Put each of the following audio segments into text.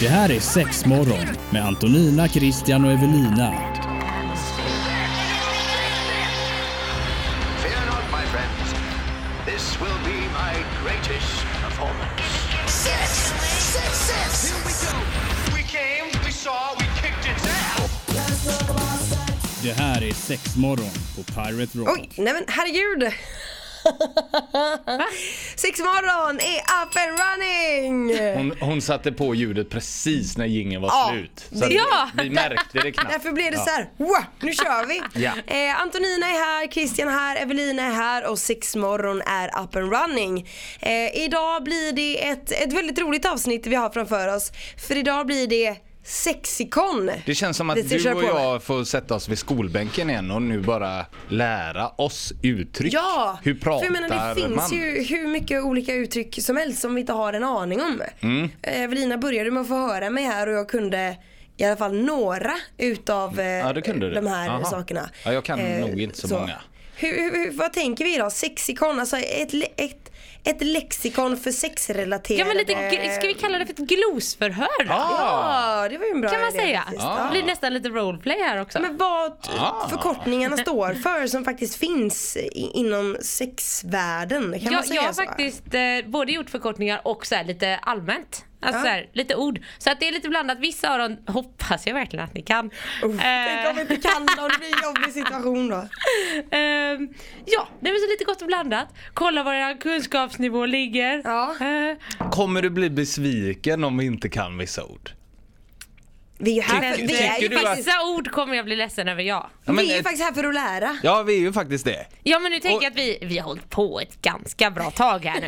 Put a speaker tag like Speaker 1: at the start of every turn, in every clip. Speaker 1: Det här är Sexmorgon med Antonina, Christian och Evelina.
Speaker 2: Fear not, my friends. This will be my greatest performance.
Speaker 3: Six! Six, six! Here we go!
Speaker 2: We came, we saw, we kicked its ass.
Speaker 1: Det här är Sexmorgon på Pirate Rock.
Speaker 4: Oj, nej men herregud! Sexmorgon är up and running!
Speaker 5: Hon, hon satte på ljudet precis när jingeln var
Speaker 4: Ja,
Speaker 5: slut. Så att
Speaker 4: ja.
Speaker 5: vi, vi märkte det knappt.
Speaker 4: Därför blev det så här, wow, nu kör vi!
Speaker 5: Ja.
Speaker 4: Eh, Antonina är här, Christian är här, Evelina är här och Sexmorgon är up and running. Eh, idag blir det ett, ett väldigt roligt avsnitt vi har framför oss. För idag blir det Sexikon.
Speaker 5: Det känns som
Speaker 4: Vi
Speaker 5: att
Speaker 4: ska
Speaker 5: du
Speaker 4: köra
Speaker 5: och
Speaker 4: på.
Speaker 5: jag får sätta oss vid skolbänken igen och nu bara lära oss uttryck.
Speaker 4: Ja!
Speaker 5: Hur pratar
Speaker 4: för jag menar, det finns
Speaker 5: man?
Speaker 4: ju hur mycket olika uttryck som helst som vi inte har en aning om.
Speaker 5: Mm.
Speaker 4: Eh, Evelina började med att få höra mig här och jag kunde i alla fall några utav eh,
Speaker 5: Ja, det kunde du.
Speaker 4: de här
Speaker 5: Aha.
Speaker 4: sakerna. Eh,
Speaker 5: Ja, jag kan nog inte så många.
Speaker 4: Hur, hur, hur, vad tänker vi idag? Sexikon, alltså ett, le- ett, ett lexikon för sexrelaterade...
Speaker 6: Ja men lite, gl- ska vi kalla det för ett glosförhör då?
Speaker 5: Ah,
Speaker 4: Ja, det var ju en bra
Speaker 6: Kan man
Speaker 4: idé
Speaker 6: säga.
Speaker 4: faktiskt.
Speaker 6: Det blir nästan lite roleplay här också.
Speaker 4: Men vad t-
Speaker 5: Ah.
Speaker 4: förkortningarna står för som faktiskt finns i- inom sexvärlden. Kan man
Speaker 6: jag,
Speaker 4: säga
Speaker 6: jag har
Speaker 4: så?
Speaker 6: faktiskt eh, både gjort förkortningar och så här lite allmänt. Alltså
Speaker 4: Ja.
Speaker 6: så här, lite ord. Så att det är lite blandat. Vissa av dem hoppas jag verkligen att ni kan.
Speaker 4: Oh, Tänk om
Speaker 6: Eh,
Speaker 4: vi inte kan då, det blir en jobbig situation då.
Speaker 6: ehm, ja, det är så lite gott och blandat. Kolla var er kunskapsnivå ligger.
Speaker 4: Ja.
Speaker 6: Eh,
Speaker 5: Kommer du bli besviken om vi inte kan vissa ord?
Speaker 4: Vi är ju här för,
Speaker 5: Tycker-
Speaker 4: vi är
Speaker 5: tycker
Speaker 4: ju
Speaker 5: du
Speaker 4: faktiskt,
Speaker 5: att-
Speaker 6: Vissa ord kommer jag bli ledsen över, ja.
Speaker 5: Ja, men,
Speaker 4: vi är ju
Speaker 5: eh,
Speaker 4: faktiskt här för att lära.
Speaker 5: ja, vi är ju faktiskt det.
Speaker 6: Ja men nu tänker
Speaker 5: Och-
Speaker 6: jag att vi, vi har hållit på ett ganska bra tag här nu.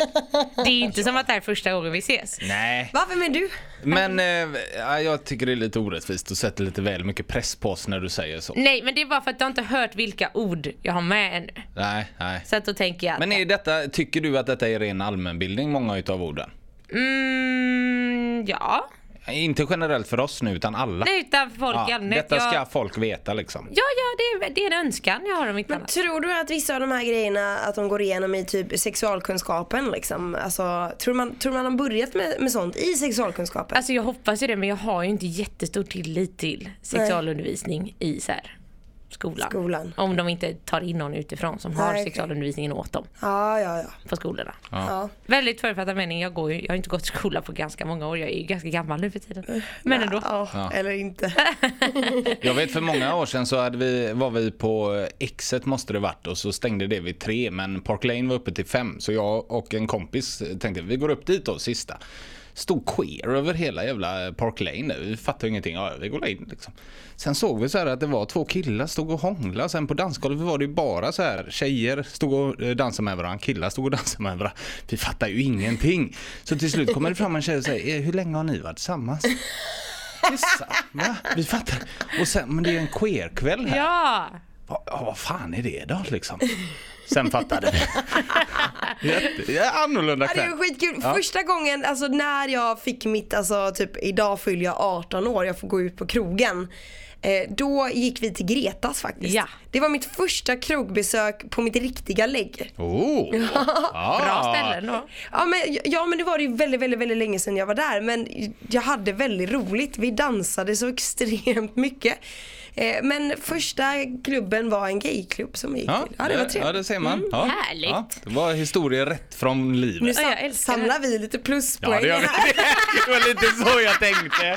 Speaker 6: Det är inte som att det här är första gången vi ses.
Speaker 5: Nej,
Speaker 4: Va, vem är du?
Speaker 5: men eh, ja, jag tycker det är lite orättvist och sätter lite väl mycket press på oss när du säger så.
Speaker 6: Nej men det är bara för att du har inte hört vilka ord jag har med ännu.
Speaker 5: Nej, nej.
Speaker 6: Så att då tänker jag att...
Speaker 5: Men är detta, tycker du att detta är ren allmänbildning, många utav orden?
Speaker 6: Mm, ja.
Speaker 5: Inte generellt för oss nu, utan alla.
Speaker 6: Nej utan folk i
Speaker 5: Ja,
Speaker 6: allmänhet.
Speaker 5: detta ska
Speaker 6: jag...
Speaker 5: folk veta liksom.
Speaker 6: Ja ja det är, det är en önskan jag har om inte
Speaker 4: Men
Speaker 6: annat.
Speaker 4: tror du att vissa av de här grejerna att de går igenom i typ sexualkunskapen liksom? Alltså, tror man, tror man har börjat med, med sånt i sexualkunskapen?
Speaker 6: Alltså jag hoppas ju det men jag har ju inte jättestor tillit till sexualundervisning i så här, skolan.
Speaker 4: Skolan.
Speaker 6: Om de inte tar in någon utifrån som har
Speaker 4: Nej, okej.
Speaker 6: sexualundervisningen åt dem
Speaker 4: ja, ja, ja.
Speaker 6: på skolorna.
Speaker 4: ja.
Speaker 6: Väldigt förutfattad mening. Jag, går ju, jag har inte gått i skola på ganska många år. Jag är ju ganska gammal nu för tiden. Men ändå.
Speaker 4: Ja, Eller inte.
Speaker 5: Jag vet för många år sedan så hade vi, var vi på eh, Exet måste det varit och så stängde det vid tre men Park Lane var uppe till fem så jag och en kompis tänkte vi går upp dit då sista. Stod queer över hela jävla Park Lane. Vi fattade ingenting. Ja, vi går in liksom. Sen såg vi så här att det var två killar stod och hånglade. Sen på dansgolvet var det ju bara så här tjejer stod och eh, dansade med varandra. Killar stod och dansade med varandra. Vi fattar ju ingenting. Så till slut kommer det fram en tjej och säger "Eh, hur länge har ni varit tillsammans? Va? Vi fattar. Och sen, men det är en queerkväll här.
Speaker 6: Ja!
Speaker 5: Va- Ja, vad fan är det då liksom? Sen fattade vi. Jätte- ja, Annorlunda
Speaker 4: Ja, det är ju
Speaker 5: kväll.
Speaker 4: skitkul.
Speaker 5: Ja.
Speaker 4: Första gången, alltså när jag fick mitt, alltså typ idag fyller jag 18 år, jag får gå ut på krogen. Eh, då gick vi till Gretas faktiskt.
Speaker 6: Ja.
Speaker 4: Det var mitt första krogbesök på mitt riktiga lägg.
Speaker 5: Oh.
Speaker 6: Bra
Speaker 5: Ah.
Speaker 6: ställe ändå.
Speaker 4: Ja men, ja men det var det ju väldigt, väldigt, väldigt länge sedan jag var där. Men jag hade väldigt roligt. Vi dansade så extremt mycket. Eh, men första klubben var en gayklubb som vi gick
Speaker 5: Ja,
Speaker 4: till. Ja det var
Speaker 5: ja,
Speaker 4: trevligt. Mm,
Speaker 5: det ser man. Ja.
Speaker 6: Härligt.
Speaker 5: Ja, det var historier rätt från
Speaker 4: Nu
Speaker 5: livet.
Speaker 6: Ja, jag
Speaker 4: sam-
Speaker 6: älskar
Speaker 4: samlar vi lite
Speaker 5: Ja,
Speaker 4: pluspoäng
Speaker 5: det, gör vi.
Speaker 4: här.
Speaker 5: det var lite så jag tänkte.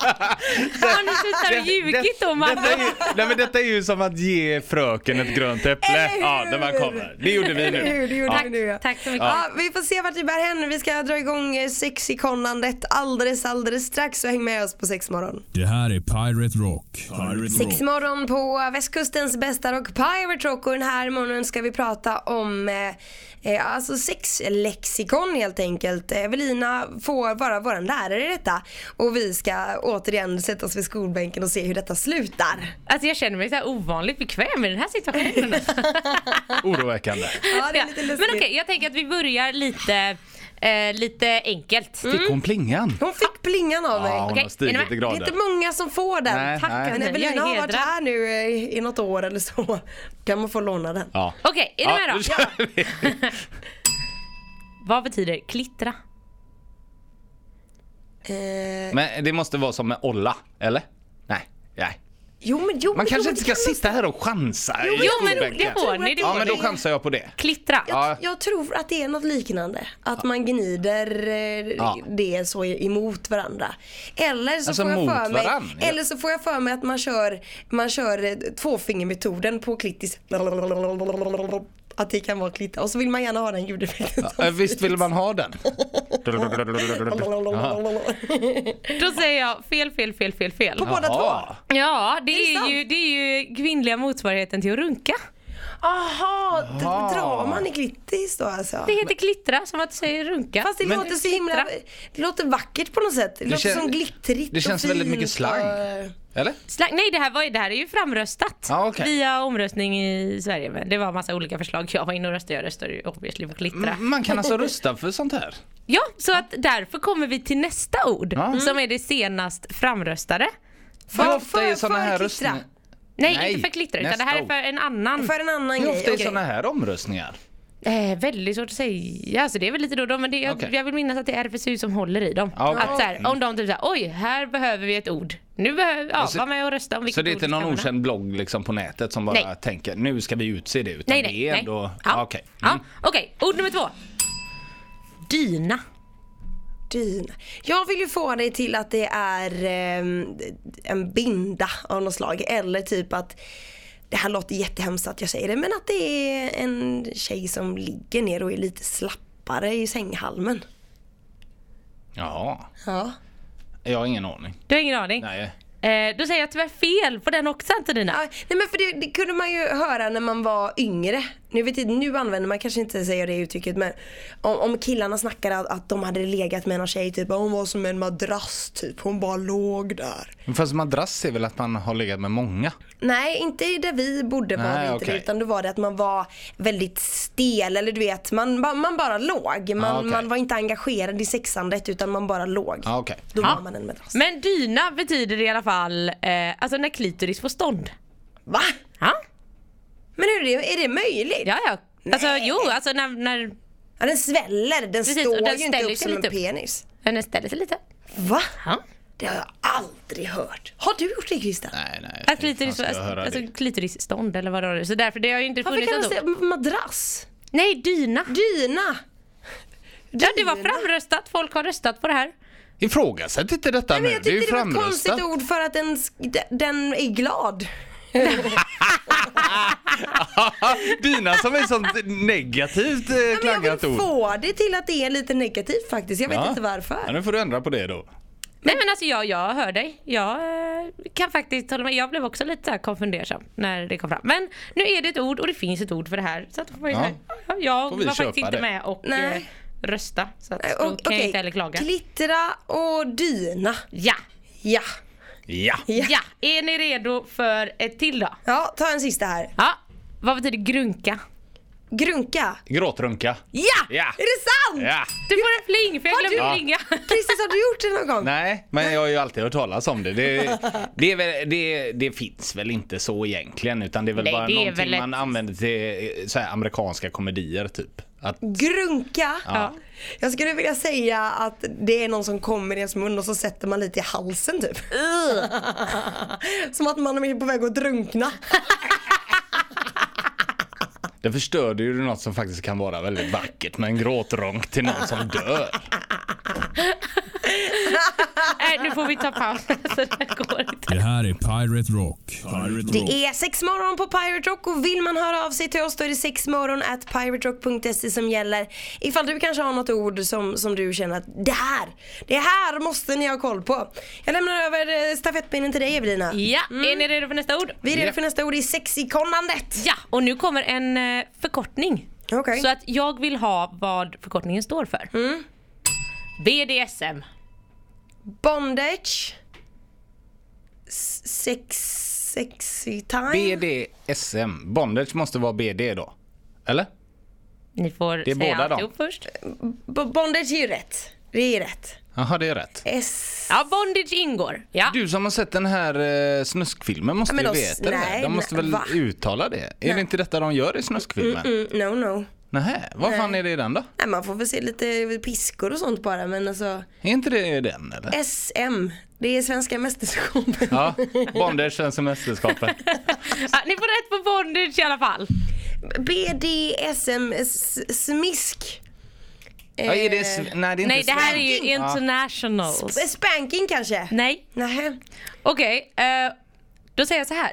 Speaker 6: Har ni slutat och ljugit då
Speaker 5: detta, är
Speaker 6: mamma?
Speaker 5: ju, nej, men detta är ju som att ge fröken ett grönt
Speaker 4: Eller
Speaker 5: äpple.
Speaker 4: hur?
Speaker 5: Ja, när man kommer. Det gjorde vi
Speaker 4: Eller hur?
Speaker 5: nu.
Speaker 4: Det gjorde vi nu ja.
Speaker 6: Tack så mycket.
Speaker 4: Ja, vi får se vart det bär hän. Vi ska dra igång eh, sexikonandet alldeles, alldeles strax. Så häng med oss på Sexmorgon.
Speaker 1: Det här är Pirate Rock. Pirate
Speaker 4: Sexmorgon på västkustens bästa rock, Pirate Rock. Och den här morgonen ska vi prata om eh, eh, alltså sexlexikon helt enkelt. Eh, Evelina får vara vår lärare i detta. Och vi ska återigen sätta oss vid skolbänken och se hur detta slutar.
Speaker 6: Alltså jag känner mig så här ovanligt bekväm i den här situationen.
Speaker 5: Oroväckande.
Speaker 4: Ja, det är lite
Speaker 6: Men
Speaker 4: lustigt.
Speaker 6: okej, jag tänker att vi börjar lite, eh, lite enkelt.
Speaker 4: Mm.
Speaker 5: Fick hon plingan?
Speaker 4: Hon fick plingan av mig.
Speaker 5: Ja, hon
Speaker 6: Okej, är
Speaker 5: har
Speaker 6: ni med?
Speaker 5: stigit
Speaker 4: Det
Speaker 6: Det är
Speaker 5: i
Speaker 4: är
Speaker 5: grader.
Speaker 4: inte många som får den.
Speaker 5: Nej,
Speaker 4: Tack.
Speaker 5: nej.
Speaker 4: Men
Speaker 6: Men jag är
Speaker 4: Evelina har varit
Speaker 6: hedrad.
Speaker 4: här nu eh, i något år eller så. Kan man få låna den?
Speaker 5: Ja.
Speaker 6: Okej, är ni med då?
Speaker 5: nu kör vi.
Speaker 6: Vad betyder klittra?
Speaker 4: Eh,
Speaker 5: Men det måste vara som med Olla, eller? Nej, nej.
Speaker 4: jo men jo,
Speaker 5: Man
Speaker 4: men,
Speaker 5: kanske
Speaker 4: jo,
Speaker 5: inte
Speaker 4: det
Speaker 5: ska
Speaker 4: kan man-
Speaker 5: sitta här och chansa i
Speaker 6: Jo men det
Speaker 5: skolbänken.
Speaker 6: får ni, det
Speaker 5: Ja
Speaker 6: får
Speaker 5: men då
Speaker 6: ni.
Speaker 5: chansar jag på det.
Speaker 6: Klistra.
Speaker 5: Ja.
Speaker 4: Jag tror att det är något liknande. Att man gnider eh,
Speaker 5: Ja.
Speaker 4: det så emot varandra. Eller så,
Speaker 5: Alltså,
Speaker 4: får jag
Speaker 5: mot
Speaker 4: för mig,
Speaker 5: varann, ja.
Speaker 4: eller så får jag för mig att man kör, man kör eh, tvåfingermetoden på klittis. Att det kan vara klitta. Och så vill man gärna ha den ljudeffekten.
Speaker 5: Eh, Visst vill man ha den? Jaha.
Speaker 6: Då säger jag fel, fel, fel, fel, fel.
Speaker 4: På båda två.
Speaker 5: Jaha.
Speaker 6: Ja, det är,
Speaker 4: sant?
Speaker 6: ju, det är ju kvinnliga motsvarigheten till att runka.
Speaker 4: Aha, d- drar man i klittis då alltså?
Speaker 6: Det heter klittra, som att du säger runka.
Speaker 4: Fast det
Speaker 5: Men-
Speaker 4: låter så himla, det låter vackert på något sätt. Det, låter
Speaker 5: kän-
Speaker 4: som glittrigt
Speaker 5: det känns
Speaker 4: och
Speaker 5: väldigt mycket
Speaker 4: fint
Speaker 5: slang.
Speaker 4: och-
Speaker 5: Eller?
Speaker 6: Slang, nej, det här, var, ju- det här är ju framröstat
Speaker 5: Ja, okej.
Speaker 6: via omröstning i Sverige. Men det var massa olika förslag. Jag var inne och röstade. Jag röstade ju obviously på klittra.
Speaker 5: M- Man kan alltså rösta för sånt här?
Speaker 6: Ja, så att därför kommer vi till nästa ord
Speaker 5: Ja.
Speaker 6: som är det senast framröstade.
Speaker 5: Hur
Speaker 4: För-
Speaker 5: ofta är
Speaker 4: för-
Speaker 5: såna
Speaker 4: för
Speaker 5: här
Speaker 4: klittra.
Speaker 5: röstningar?
Speaker 6: Nej,
Speaker 5: Nej,
Speaker 6: inte för klittra utan
Speaker 5: nästa
Speaker 6: det här är
Speaker 5: ord.
Speaker 6: för en annan.
Speaker 4: För en annan
Speaker 5: Hur
Speaker 4: grej.
Speaker 5: ofta är
Speaker 4: okej.
Speaker 5: såna här omröstningar?
Speaker 6: Eh, väldigt svårt att säga, alltså det är väl lite då och då men det, jag,
Speaker 5: Okej.
Speaker 6: jag vill minnas att det är RFSU som håller i dem.
Speaker 5: Ja, Mm. okej.
Speaker 6: Att så här, om de typ såhär, oj här behöver vi ett ord. Nu behöver, ja
Speaker 5: så-
Speaker 6: var med och rösta om vilket
Speaker 5: Så det är
Speaker 6: ord
Speaker 5: inte
Speaker 6: vi ska
Speaker 5: någon
Speaker 6: använda.
Speaker 5: okänd blogg liksom på nätet som bara
Speaker 6: Nej.
Speaker 5: tänker nu ska vi utse det utan
Speaker 6: Nej
Speaker 5: det
Speaker 6: nej,
Speaker 5: är
Speaker 6: nej.
Speaker 5: ändå...
Speaker 6: Ja.
Speaker 5: Ja, okej. Mm.
Speaker 6: ja, okej, ord nummer två. Dyna.
Speaker 4: Dyna. Jag vill ju få dig till att det är ehm, en binda av något slag. Eller typ att, det här låter jättehemskt att jag säger det, men att det är en tjej som ligger ner och är lite slappare i sänghalmen.
Speaker 5: Jaha.
Speaker 4: Ja.
Speaker 5: Jag har ingen aning.
Speaker 6: Du har ingen aning?
Speaker 5: Nej.
Speaker 6: Eh, då säger jag tyvärr fel på den också Antonina.
Speaker 4: Ja, nej men för det, det kunde man ju höra när man var yngre. Nu, vet jag, nu använder man kanske inte säger det uttrycket men om, om killarna snackade att, att de hade legat med någon tjej, typ hon var som en madrass typ, hon bara låg där.
Speaker 5: Fast madrass är väl att man har legat med många?
Speaker 4: Nej, inte där vi bodde var
Speaker 5: Nej,
Speaker 4: det inte det,
Speaker 5: okej.
Speaker 4: utan då var det att man var väldigt stel eller du vet, man, ba- man bara låg. Man,
Speaker 5: Ah, okej.
Speaker 4: man var inte engagerad i sexandet utan man bara låg.
Speaker 5: Ja, okej.
Speaker 4: Då
Speaker 6: Ja.
Speaker 4: var man en madrass.
Speaker 6: Men dyna betyder i alla fall eh, alltså när klitoris får stånd.
Speaker 4: Va?
Speaker 6: Ja,
Speaker 4: Men hur är det, är det möjligt?
Speaker 6: ja. ja. Alltså jo, alltså när, när
Speaker 4: Ja, den sväller, den
Speaker 6: Precis,
Speaker 4: står
Speaker 6: och den
Speaker 4: ju inte
Speaker 6: ställer
Speaker 4: upp
Speaker 6: sig
Speaker 4: som en
Speaker 6: lite upp.
Speaker 4: penis.
Speaker 6: när den ställer sig lite.
Speaker 4: Va?
Speaker 6: Ja.
Speaker 4: Det har jag aldrig hört. Har du gjort det Christer?
Speaker 5: Nej, nej.
Speaker 6: Att
Speaker 5: hur fan
Speaker 4: liksom-
Speaker 6: klitoris,
Speaker 5: ska jag
Speaker 6: alltså,
Speaker 5: höra
Speaker 6: alltså,
Speaker 5: det?
Speaker 6: klitorisstånd eller vad det var. Så därför det har ju inte
Speaker 4: Varför
Speaker 6: funnits
Speaker 4: kan man
Speaker 6: ett
Speaker 4: säga
Speaker 6: ord.
Speaker 4: madrass?
Speaker 6: Nej, dyna.
Speaker 4: Dyna?
Speaker 6: Ja, det var framröstat. Folk har röstat på det här.
Speaker 5: Ifrågasätt inte detta
Speaker 4: Men
Speaker 5: nu.
Speaker 4: jag
Speaker 5: Det är ju
Speaker 4: tyckte det var ett
Speaker 5: framröstat.
Speaker 4: konstigt ord för att den, sk- den är glad.
Speaker 5: Dina som är sånt negativt eh,
Speaker 4: Ja, men jag
Speaker 5: klangat
Speaker 4: vill
Speaker 5: ord.
Speaker 4: få det till att det är lite negativt faktiskt. Jag vet
Speaker 5: Ja.
Speaker 4: inte varför.
Speaker 5: Ja, nu får du ändra på det då.
Speaker 6: Nej men alltså jag, jag hör dig. Jag eh, kan faktiskt hålla med. Jag blev också lite så här konfundersam när det kom fram. Men nu är det ett ord och det finns ett ord för det här. Så att får
Speaker 5: Ja.
Speaker 6: ja. jag
Speaker 5: Får vi
Speaker 6: var
Speaker 5: köpa
Speaker 6: faktiskt inte
Speaker 5: det?
Speaker 6: med och
Speaker 4: Nej.
Speaker 6: eh, rösta. Så att,
Speaker 4: Eh,
Speaker 6: då
Speaker 4: och-
Speaker 6: kan jag inte heller klaga.
Speaker 4: Klittra och dyna.
Speaker 6: Ja.
Speaker 4: Ja.
Speaker 5: Ja.
Speaker 4: Ja.
Speaker 6: ja, är ni redo för ett till då?
Speaker 4: Ja, ta en sista här.
Speaker 6: Ja. Vad betyder grunka?
Speaker 4: Grunka.
Speaker 5: Gråtrunka.
Speaker 4: Ja!
Speaker 5: Ja.
Speaker 4: Är det sant?
Speaker 5: Ja.
Speaker 6: Du får en fling för jag
Speaker 4: Har du-
Speaker 6: glömde flinga.
Speaker 4: Christer, har du gjort det någon gång?
Speaker 5: Nej, men jag har ju alltid hört talas om det. Det, det, är väl, det, det finns väl inte så egentligen utan det är väl
Speaker 6: Nej,
Speaker 5: bara
Speaker 6: det är
Speaker 5: någonting
Speaker 6: väl ett-
Speaker 5: man använder till eh, så här, amerikanska komedier typ. Att,
Speaker 4: Grunka.
Speaker 6: Ja.
Speaker 4: Jag skulle vilja säga att det är någon som kommer i ens mun och så sätter man lite i halsen typ. som att man är på väg att drunkna.
Speaker 5: det förstörde ju något som faktiskt kan vara väldigt vackert med en gråtrunk till någon som dör.
Speaker 6: Nej, nu får vi ta paus. Så det här går inte.
Speaker 1: Det här är Pirate Rock. Pirate Rock.
Speaker 4: Det är sexmorgon på Pirate Rock och vill man höra av sig till oss då är det sexmorgon at piraterock.se som gäller. Ifall du kanske har något ord som, som du känner att det här, det här måste ni ha koll på. Jag lämnar över eh, stafettpinnen till dig Evelina.
Speaker 6: Ja, är ni redo för nästa ord?
Speaker 4: Vi är redo
Speaker 5: Ja.
Speaker 4: för nästa ord i sexikonandet.
Speaker 6: Ja, och nu kommer en eh, förkortning.
Speaker 4: Okej.
Speaker 6: Så att jag vill ha vad förkortningen står för. BDSM.
Speaker 4: Bondage. S- Sex, sexy time.
Speaker 5: BDSM. Bondage måste vara BD då. Eller?
Speaker 6: Ni får
Speaker 5: är
Speaker 6: säga
Speaker 5: båda dem.
Speaker 6: alltihop först.
Speaker 4: B- bondage är ju rätt. Det är rätt.
Speaker 5: Jaha, det är rätt.
Speaker 4: S-
Speaker 6: Ja, bondage ingår. Ja.
Speaker 5: Du som har sett den här eh, snuskfilmen måste
Speaker 4: Ja, men
Speaker 5: ju
Speaker 4: då-
Speaker 5: veta det.
Speaker 4: nej,
Speaker 5: De måste
Speaker 4: nej,
Speaker 5: väl
Speaker 4: va?
Speaker 5: uttala det? Är det inte detta de gör i snuskfilmen?
Speaker 4: mm, no no.
Speaker 5: Nähä, vad fan är det i den då?
Speaker 4: Nej, man får väl se lite piskor och sånt bara men alltså
Speaker 5: Är inte det den eller?
Speaker 4: SM, det är svenska mästerskapen.
Speaker 5: Ja, bondagen som mästerskapen.
Speaker 6: Ja, ni får rätt på bondage i alla fall.
Speaker 4: BDSM s- smisk.
Speaker 5: Ja, är det, sv- nej, det är inte
Speaker 6: Nej, det här är ju
Speaker 5: svensk. Ja.
Speaker 6: internationals.
Speaker 4: Eh, Spanking kanske?
Speaker 6: Nej,
Speaker 4: Nej.
Speaker 6: okej. eh, då säger jag så här.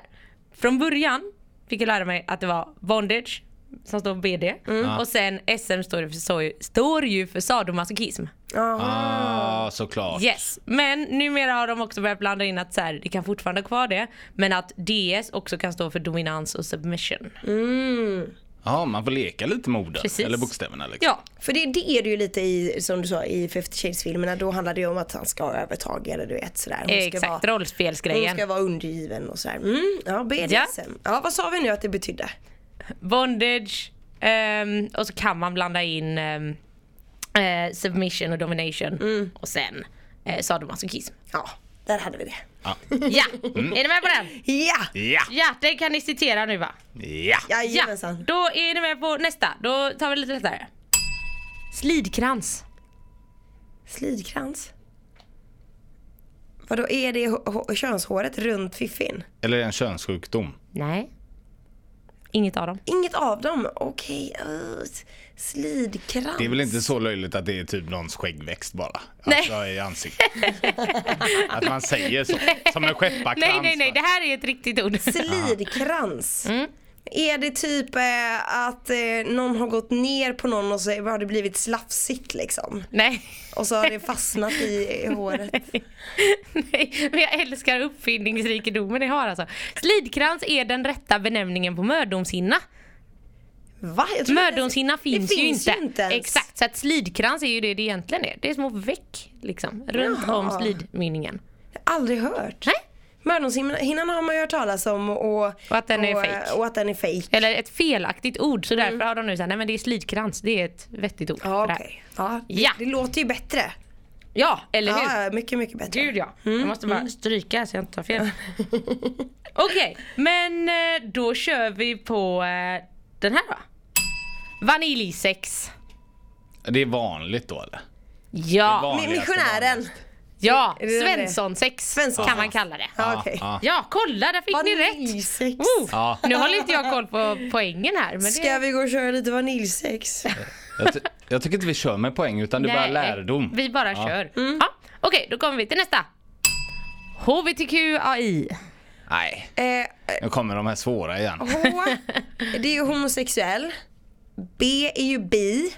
Speaker 6: Från början fick jag lära mig att det var bondage, som står BD. Och sen SM står, ju för, så, står ju för sadomasochism.
Speaker 5: Ah, såklart.
Speaker 6: Yes, men numera har de också börjat blanda in att så här, det kan fortfarande ha kvar det, men att DS också kan stå för dominans och submission.
Speaker 5: Ja, man får leka lite med orden.
Speaker 6: Precis.
Speaker 5: Eller bokstäverna liksom.
Speaker 6: Ja,
Speaker 4: För det, det är det ju lite i, som du sa, i 50 Shades filmerna. Då handlar det ju om att han ska ha övertag eller du vet sådär. Hon ska
Speaker 6: exakt.
Speaker 4: Vara, hon
Speaker 6: Rollspelsgrejen.
Speaker 4: ska vara undergiven och sådär. Mm, ja, BDSM. Ja.
Speaker 6: Ja.
Speaker 4: vad sa vi nu att det betydde?
Speaker 6: Bondage, ehm, och så kan man blanda in ehm, eh, submission och domination.
Speaker 4: Mm.
Speaker 6: Och sen eh, sadomasochism.
Speaker 4: Ja, där hade vi det.
Speaker 6: Ja,
Speaker 4: Mm.
Speaker 6: är ni med på den?
Speaker 4: Ja!
Speaker 5: Ja!
Speaker 6: Ja, det kan ni citera nu va?
Speaker 5: Ja!
Speaker 6: Ja,
Speaker 4: Jajamensan.
Speaker 6: då är ni med på nästa. Då tar vi lite lättare. Slidkrans.
Speaker 4: Slidkrans. Vadå, är det h- h- könshåret runt fiffin?
Speaker 5: Eller en könssjukdom.
Speaker 6: Nej. Inget av dem.
Speaker 4: Inget av dem? Okej, öh, s- slidkrans.
Speaker 5: Det är väl inte så löjligt att det är typ någons skäggväxt bara?
Speaker 6: Nej.
Speaker 5: Alltså i ansiktet. att man säger så. Som en skepparkrans.
Speaker 6: Nej, nej, nej, det här är ett riktigt ord.
Speaker 4: Slidkrans.
Speaker 6: Mm.
Speaker 4: Är det typ eh, att eh, någon har gått ner på någon och så har det blivit slafsigt liksom?
Speaker 6: Nej.
Speaker 4: Och så har det fastnat i eh, håret.
Speaker 6: Nej, men jag älskar uppfinningsrikedomen ni har alltså. Slidkrans är den rätta benämningen på mödomshinna.
Speaker 4: Va? Jag tror att det-
Speaker 6: Mödomshinna finns, ju
Speaker 4: finns
Speaker 6: inte.
Speaker 4: ju inte ens.
Speaker 6: Exakt, så att slidkrans är ju det det egentligen är. Det är små veck liksom, runt
Speaker 4: Jaha.
Speaker 6: om slidmynningen.
Speaker 4: Aldrig hört.
Speaker 6: Nej?
Speaker 4: Mördonshinnan har man ju hört talas om och,
Speaker 6: Och att den är
Speaker 4: och, eh,
Speaker 6: fake.
Speaker 4: Och att den är fake.
Speaker 6: Eller ett felaktigt ord, så därför har de nu sagt nej men det är slidkrans, det är ett vettigt ord.
Speaker 4: Mm. Ja,
Speaker 6: för det
Speaker 4: okej.
Speaker 6: här.
Speaker 4: Ja, det,
Speaker 6: Ja.
Speaker 4: det låter ju bättre.
Speaker 6: ja eller hur?
Speaker 4: Ja, ja, mycket, mycket bättre.
Speaker 6: Gud ja.
Speaker 4: Mm,
Speaker 6: Jag måste bara stryka så jag inte tar fel. Okej, men eh, då kör vi på eh, den här då. Vaniljsex.
Speaker 5: Det är vanligt då eller?
Speaker 6: Ja,
Speaker 4: Mi-
Speaker 5: Vanligaste
Speaker 4: Missionären.
Speaker 5: vanligaste.
Speaker 6: ja.
Speaker 4: Är det den
Speaker 6: Svenssonsex
Speaker 4: Svensson.
Speaker 6: kan man kalla det.
Speaker 4: Ja, okej.
Speaker 5: Ja.
Speaker 6: Ja, kolla där fick ni rätt!
Speaker 4: Vaniljsex.
Speaker 6: Oh,
Speaker 5: Ja.
Speaker 6: Nu håller inte jag koll på poängen här. Men
Speaker 4: Ska
Speaker 6: det...
Speaker 4: vi gå och köra lite vaniljsex? Eh,
Speaker 5: Jag, ty- jag tycker inte vi kör med poäng utan det är bara
Speaker 6: Nej,
Speaker 5: lärdom.
Speaker 6: Vi bara
Speaker 5: Ja.
Speaker 6: kör.
Speaker 4: Mm.
Speaker 6: Ja. Okej, då kommer vi till nästa. HBTQAI.
Speaker 5: Nej,
Speaker 4: eh,
Speaker 5: nu kommer de här svåra igen.
Speaker 4: H, det är ju homosexuell. B är ju bi.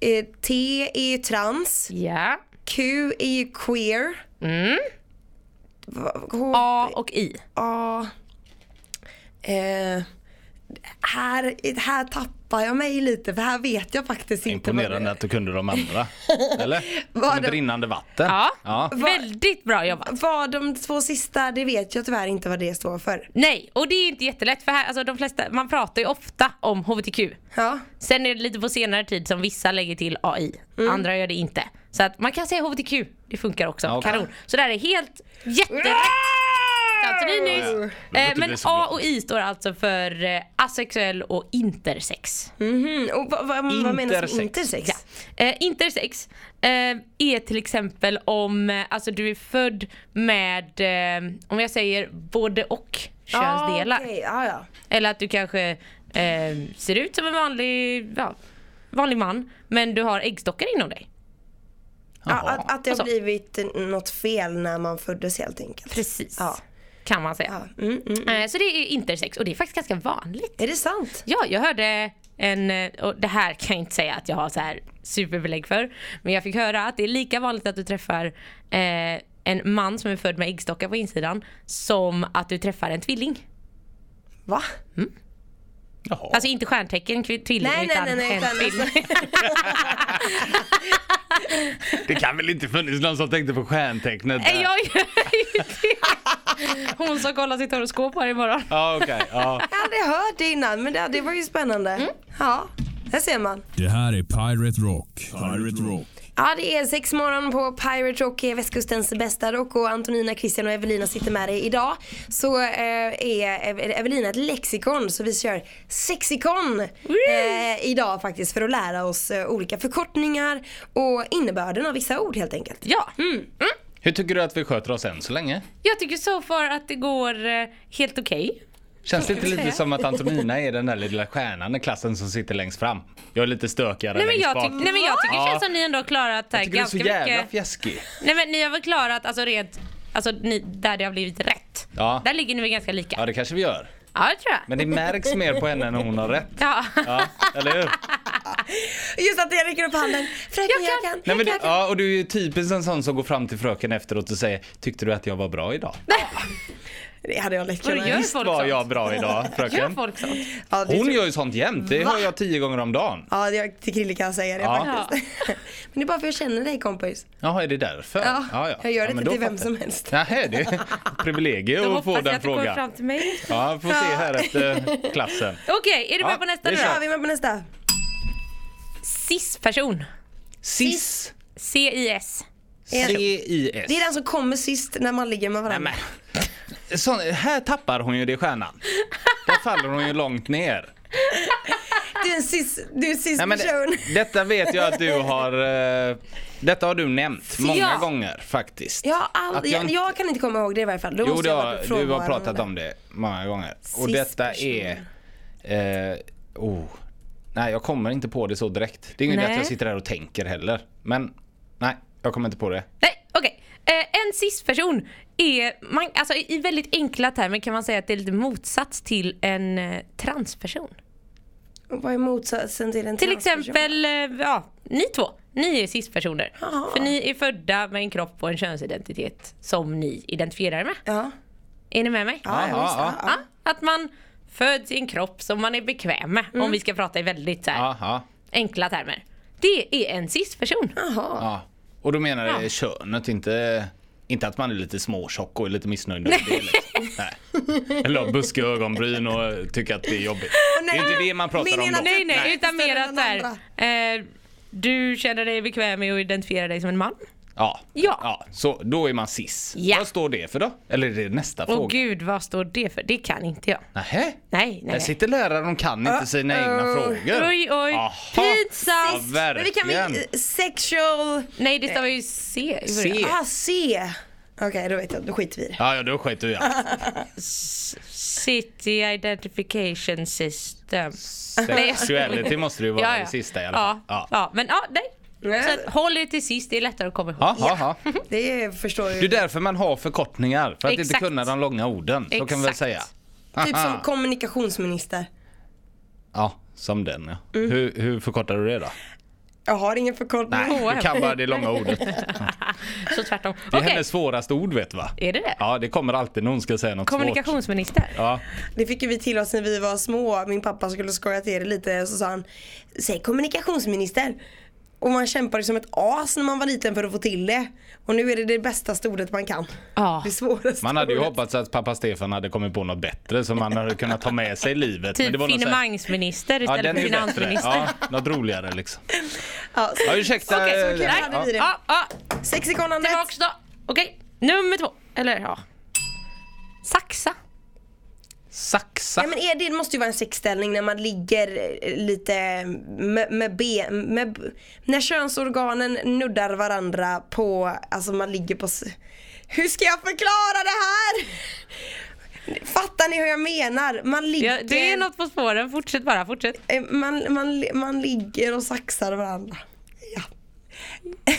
Speaker 4: Eh, T är ju trans.
Speaker 6: Ja.
Speaker 4: Q är ju queer. Va- H,
Speaker 6: Mm. A och I.
Speaker 4: A. Eh, här, här tappar jag mig lite för här vet jag faktiskt inte. vad det-
Speaker 5: Imponerande att du kunde de andra. Eller?
Speaker 4: Var
Speaker 5: Som ett
Speaker 4: det-
Speaker 5: rinnande vatten.
Speaker 6: Ja.
Speaker 5: ja.
Speaker 6: Väldigt bra jobbat.
Speaker 4: Vad de två sista, det vet jag tyvärr inte vad det står för.
Speaker 6: Nej, och det är inte jättelätt för här, alltså, de flesta, man pratar ju ofta om HBTQ.
Speaker 4: Ja.
Speaker 6: Sen är det lite på senare tid som vissa lägger till AI,
Speaker 4: Mm.
Speaker 6: andra gör det inte. Så att man kan säga HBTQ, det funkar också.
Speaker 5: Ja, okej.
Speaker 6: Kanon. Så där är helt jätterätt. Tantorin nyss.
Speaker 5: Ja.
Speaker 6: Eh, Men
Speaker 5: Det är så
Speaker 6: A
Speaker 5: bra.
Speaker 6: och I står alltså för eh, asexuell och intersex.
Speaker 4: Mm, och vad, vad, vad menas
Speaker 5: Intersex.
Speaker 4: med intersex?
Speaker 6: Ja. Eh, intersex eh, är till exempel om eh, alltså du är född med, eh, om jag säger både och könsdelar.
Speaker 4: Ah, okej. ja, ja.
Speaker 6: Eller att du kanske eh, ser ut som en vanlig, ja, vanlig man men du har äggstockar inom dig.
Speaker 4: Ja, att, att det har
Speaker 6: Och så.
Speaker 4: blivit eh, något fel när man föddes helt enkelt.
Speaker 6: Precis.
Speaker 4: Ja.
Speaker 6: Kan man säga.
Speaker 4: Ja. Mm, mm.
Speaker 6: Eh, så det är intersex och det är faktiskt ganska vanligt.
Speaker 4: Är det sant?
Speaker 6: Ja, jag hörde en, eh, och det här kan jag inte säga att jag har så här superbelägg för, men jag fick höra att det är lika vanligt att du träffar eh, en man som är född med äggstockar på insidan som att du träffar en tvilling.
Speaker 4: Va?
Speaker 5: Jaha.
Speaker 6: Alltså inte stjärntecken kvi- tvilling
Speaker 4: Nej, nej,
Speaker 6: utan
Speaker 4: nej, nej,
Speaker 6: en
Speaker 4: utan
Speaker 6: tvilling.
Speaker 5: Det kan väl inte funnits någon som tänkte på stjärntecknet? där?
Speaker 6: Nej, jag gör ju det. Hon som kollar sitt horoskop här imorgon.
Speaker 5: Ja, okej. Ja.
Speaker 4: Jag har aldrig hört det innan men det, det Mm. var ju spännande. Ja, där ser man.
Speaker 1: Det här är Pirate Rock. Pirate Rock.
Speaker 4: Ja, det är sex morgon på Pirate Rock, eh, västkustens bästa rock och Antonina, Christian och Evelina sitter med dig idag. Så eh, är Ev- Evelina ett lexikon så vi kör sexikon eh, idag faktiskt för att lära oss eh, olika förkortningar och innebörden av vissa ord helt enkelt.
Speaker 6: Ja, Mm.
Speaker 5: Hur tycker du att vi sköter oss än så länge?
Speaker 6: jag tycker så far att det går eh, helt okej.
Speaker 5: Känns det inte
Speaker 6: jag
Speaker 5: lite
Speaker 6: säga.
Speaker 5: som att Antonina är den där lilla stjärnan i klassen som sitter längst fram? Jag är lite stökigare
Speaker 6: Nej, men
Speaker 5: längst
Speaker 6: jag
Speaker 5: bak.
Speaker 6: tyck- nej men jag tycker det
Speaker 5: Ja.
Speaker 6: känns som ni ändå har klarat här
Speaker 5: tycker du är så
Speaker 6: ganska
Speaker 5: jävla
Speaker 6: mycket.
Speaker 5: fjäskig.
Speaker 6: Nej men ni har väl klarat, alltså rent, alltså ni, där det har blivit rätt.
Speaker 5: Ja.
Speaker 6: Där ligger ni väl ganska lika?
Speaker 5: Ja, det kanske vi gör.
Speaker 6: Ja det tror jag.
Speaker 5: Men det märks mer på henne än hon har rätt.
Speaker 6: Ja.
Speaker 5: Ja, eller hur?
Speaker 4: Just att jag räcker upp handen. Fröken, jag
Speaker 6: Jag
Speaker 4: kan.
Speaker 6: kan.
Speaker 5: Nej, men det, ja, och du är ju typiskt en sån som går fram till fröken efteråt och säger Tyckte du att jag var bra idag?
Speaker 4: Det hade jag lätt
Speaker 6: Vad
Speaker 4: kunnat.
Speaker 6: gör
Speaker 4: göra.
Speaker 5: Visst var
Speaker 6: sånt?
Speaker 5: jag bra idag
Speaker 6: Gör
Speaker 5: fröken?
Speaker 6: folk sånt?
Speaker 4: Ja, det
Speaker 5: Hon
Speaker 4: tror-
Speaker 5: gör ju sånt jämt, det hör jag tio gånger om dagen.
Speaker 4: Ja, jag, till Krille kan jag säga det
Speaker 5: Ja.
Speaker 4: faktiskt. Men det är bara för att jag känner dig kompis.
Speaker 5: Jaha, är det därför?
Speaker 4: Ja, jag gör det
Speaker 5: men
Speaker 4: inte
Speaker 5: då
Speaker 4: till vem
Speaker 5: fattar
Speaker 4: som
Speaker 5: jag.
Speaker 4: helst.
Speaker 5: Nähä, det är ett privilegium att få
Speaker 6: hoppas jag
Speaker 5: den
Speaker 6: att det kommer
Speaker 5: frågan.
Speaker 6: fram till mig.
Speaker 5: Ja, vi får se här efter klassen.
Speaker 6: Okej, är du
Speaker 5: Ja,
Speaker 6: med på nästa
Speaker 5: det
Speaker 6: nu
Speaker 5: kör
Speaker 4: Ja,
Speaker 6: då?
Speaker 4: vi är med på nästa.
Speaker 6: CIS-person.
Speaker 5: CIS.
Speaker 6: C-I-S.
Speaker 5: C-I-S.
Speaker 4: Det är den som kommer sist när man ligger med varandra.
Speaker 5: Nej, men. Sån, här tappar hon ju det i stjärnan. Där faller hon ju långt ner.
Speaker 4: Du är en cis, du är en cis
Speaker 5: Nej, men
Speaker 4: person.
Speaker 5: det, detta vet jag att du har eh, Detta har du nämnt många
Speaker 4: Ja.
Speaker 5: gånger faktiskt.
Speaker 4: Jag, har aldrig,
Speaker 5: Att
Speaker 4: jag,
Speaker 5: jag-
Speaker 4: kan inte komma ihåg det i varje fall. Då
Speaker 5: Jo,
Speaker 4: måste
Speaker 5: det
Speaker 4: jag
Speaker 5: har,
Speaker 4: varit
Speaker 5: du har
Speaker 4: frånvarande.
Speaker 5: pratat om det många gånger. Och
Speaker 4: Cis
Speaker 5: detta är... Eh, oh. Nej, jag kommer inte på det så direkt. Det är inget
Speaker 6: Nej.
Speaker 5: att jag sitter här och tänker heller. Men nej, jag kommer inte på det.
Speaker 6: Nej, okej. Eh, en cis-person är, man, alltså i i väldigt enkla termer kan man säga att det är lite motsats till en eh, transperson.
Speaker 4: Och Vad är motsatsen till en
Speaker 6: Till
Speaker 4: transperson?
Speaker 6: exempel, eh, ja, ni två. Ni är cis-personer.
Speaker 4: Jaha.
Speaker 6: För ni är födda med en kropp och en könsidentitet som ni identifierar med.
Speaker 4: Ja.
Speaker 6: Är ni med mig?
Speaker 4: Ja,
Speaker 5: ja,
Speaker 4: visst, ja, ja.
Speaker 6: Ja, Att man föds i en kropp som man är bekväm med.
Speaker 4: Mm.
Speaker 6: Om vi ska prata i väldigt så här,
Speaker 5: Aha.
Speaker 6: enkla termer. Det är en cis-person.
Speaker 4: Jaha.
Speaker 5: Ja. Och då menar det
Speaker 6: Ja.
Speaker 5: könet, inte, inte att man är lite småtjock och är lite missnöjd över det. Liksom. Nej. Eller har buskiga ögonbryn och eh, tycker att det är jobbigt. det är inte det man pratar
Speaker 4: Min
Speaker 5: om
Speaker 4: ena
Speaker 5: då.
Speaker 6: Nej, nej,
Speaker 4: Nej.
Speaker 6: utan mer
Speaker 4: Större
Speaker 6: att
Speaker 4: än
Speaker 6: så
Speaker 4: andra.
Speaker 6: här, eh, du känner dig bekväm med att identifiera dig som en man.
Speaker 5: Ja.
Speaker 6: Ja.
Speaker 5: Så då är man cis.
Speaker 6: Ja.
Speaker 5: Vad står det för då? Eller är det nästa
Speaker 6: Åh
Speaker 5: fråga?
Speaker 6: gud, vad står det för? Det kan inte jag.
Speaker 5: Nähä?
Speaker 6: Nej, nej. Ah,
Speaker 5: Här sitter lärare, de kan inte sina egna frågor.
Speaker 6: Oj, oj.
Speaker 5: Aha. Ja,
Speaker 6: Pinsamt.
Speaker 4: Men vi kan
Speaker 5: verkligen.
Speaker 4: väl... Sexual...
Speaker 6: Nej, det stavar ju C. i
Speaker 5: C.
Speaker 6: början.
Speaker 4: Ah, C. Okej, då vet jag. Då skiter vi i det.
Speaker 5: Ja, ja, då skiter vi i allt.
Speaker 6: City Identification System.
Speaker 5: Sexuality måste det ju vara
Speaker 6: Ja, ja.
Speaker 5: det sista i alla fall.
Speaker 6: Ja, ja. men ja, nej.
Speaker 4: Nej.
Speaker 6: Så att, håll er till sist, det är lättare att komma ihåg.
Speaker 5: Ja, ja, ja.
Speaker 6: Mhm.
Speaker 4: Det förstår
Speaker 5: Det
Speaker 4: ju.
Speaker 5: är därför man har förkortningar, för att inte
Speaker 6: Exakt.
Speaker 5: kunna de långa orden. Så kan vi väl
Speaker 6: Exakt.
Speaker 5: säga.
Speaker 4: Typ
Speaker 5: Aha.
Speaker 4: som kommunikationsminister.
Speaker 5: Ja, som den ja. Hur, hur förkortar du det då?
Speaker 4: Jag har ingen förkortning.
Speaker 5: Nej, du kan bara det långa ordet. Det
Speaker 6: Så tvärtom.
Speaker 5: är
Speaker 6: Okej,
Speaker 5: hennes svåraste ord vet va?
Speaker 6: är det det?
Speaker 5: Ja, det kommer alltid när hon ska säga något svårt.
Speaker 6: Kommunikationsminister?
Speaker 5: Ja,
Speaker 4: Det fick ju vi till oss när vi var små. Min pappa skulle skoja till det lite så sa han Säg kommunikationsminister. Och man kämpade som ett as när man var liten för att få till det. Och nu är det det bästa ordet man kan.
Speaker 6: Ja.
Speaker 4: Det svåraste
Speaker 5: man hade ju
Speaker 4: ordet.
Speaker 5: hoppats att pappa Stefan hade kommit på något bättre som man hade kunnat ta med sig i livet. Men det
Speaker 6: Typ
Speaker 5: var något så här-
Speaker 6: finemangsminister
Speaker 5: Ja,
Speaker 6: istället
Speaker 5: den är
Speaker 6: för
Speaker 5: ju bättre.
Speaker 6: finansminister.
Speaker 5: Ja, något roligare liksom.
Speaker 4: Ja, så,
Speaker 5: Ja, ursäkta.
Speaker 4: Okej, så kul
Speaker 5: ja,
Speaker 4: hade vi det.
Speaker 6: Ja, ja.
Speaker 4: Sexikonandet.
Speaker 6: Tillbaks då. Okej, nummer två. Eller ja. Saxa.
Speaker 5: Saxa.
Speaker 4: Ja, men är det det måste ju vara en sexställning när man ligger eh, lite med, med ben, med, b- när könsorganen nuddar varandra på, alltså man ligger på, s- hur ska jag förklara det här? Fattar ni hur jag menar? Man ligger,
Speaker 6: Ja, det är något på spåren. Fortsätt bara, fortsätt.
Speaker 4: eh, man, man, man ligger och saxar varandra. Ja.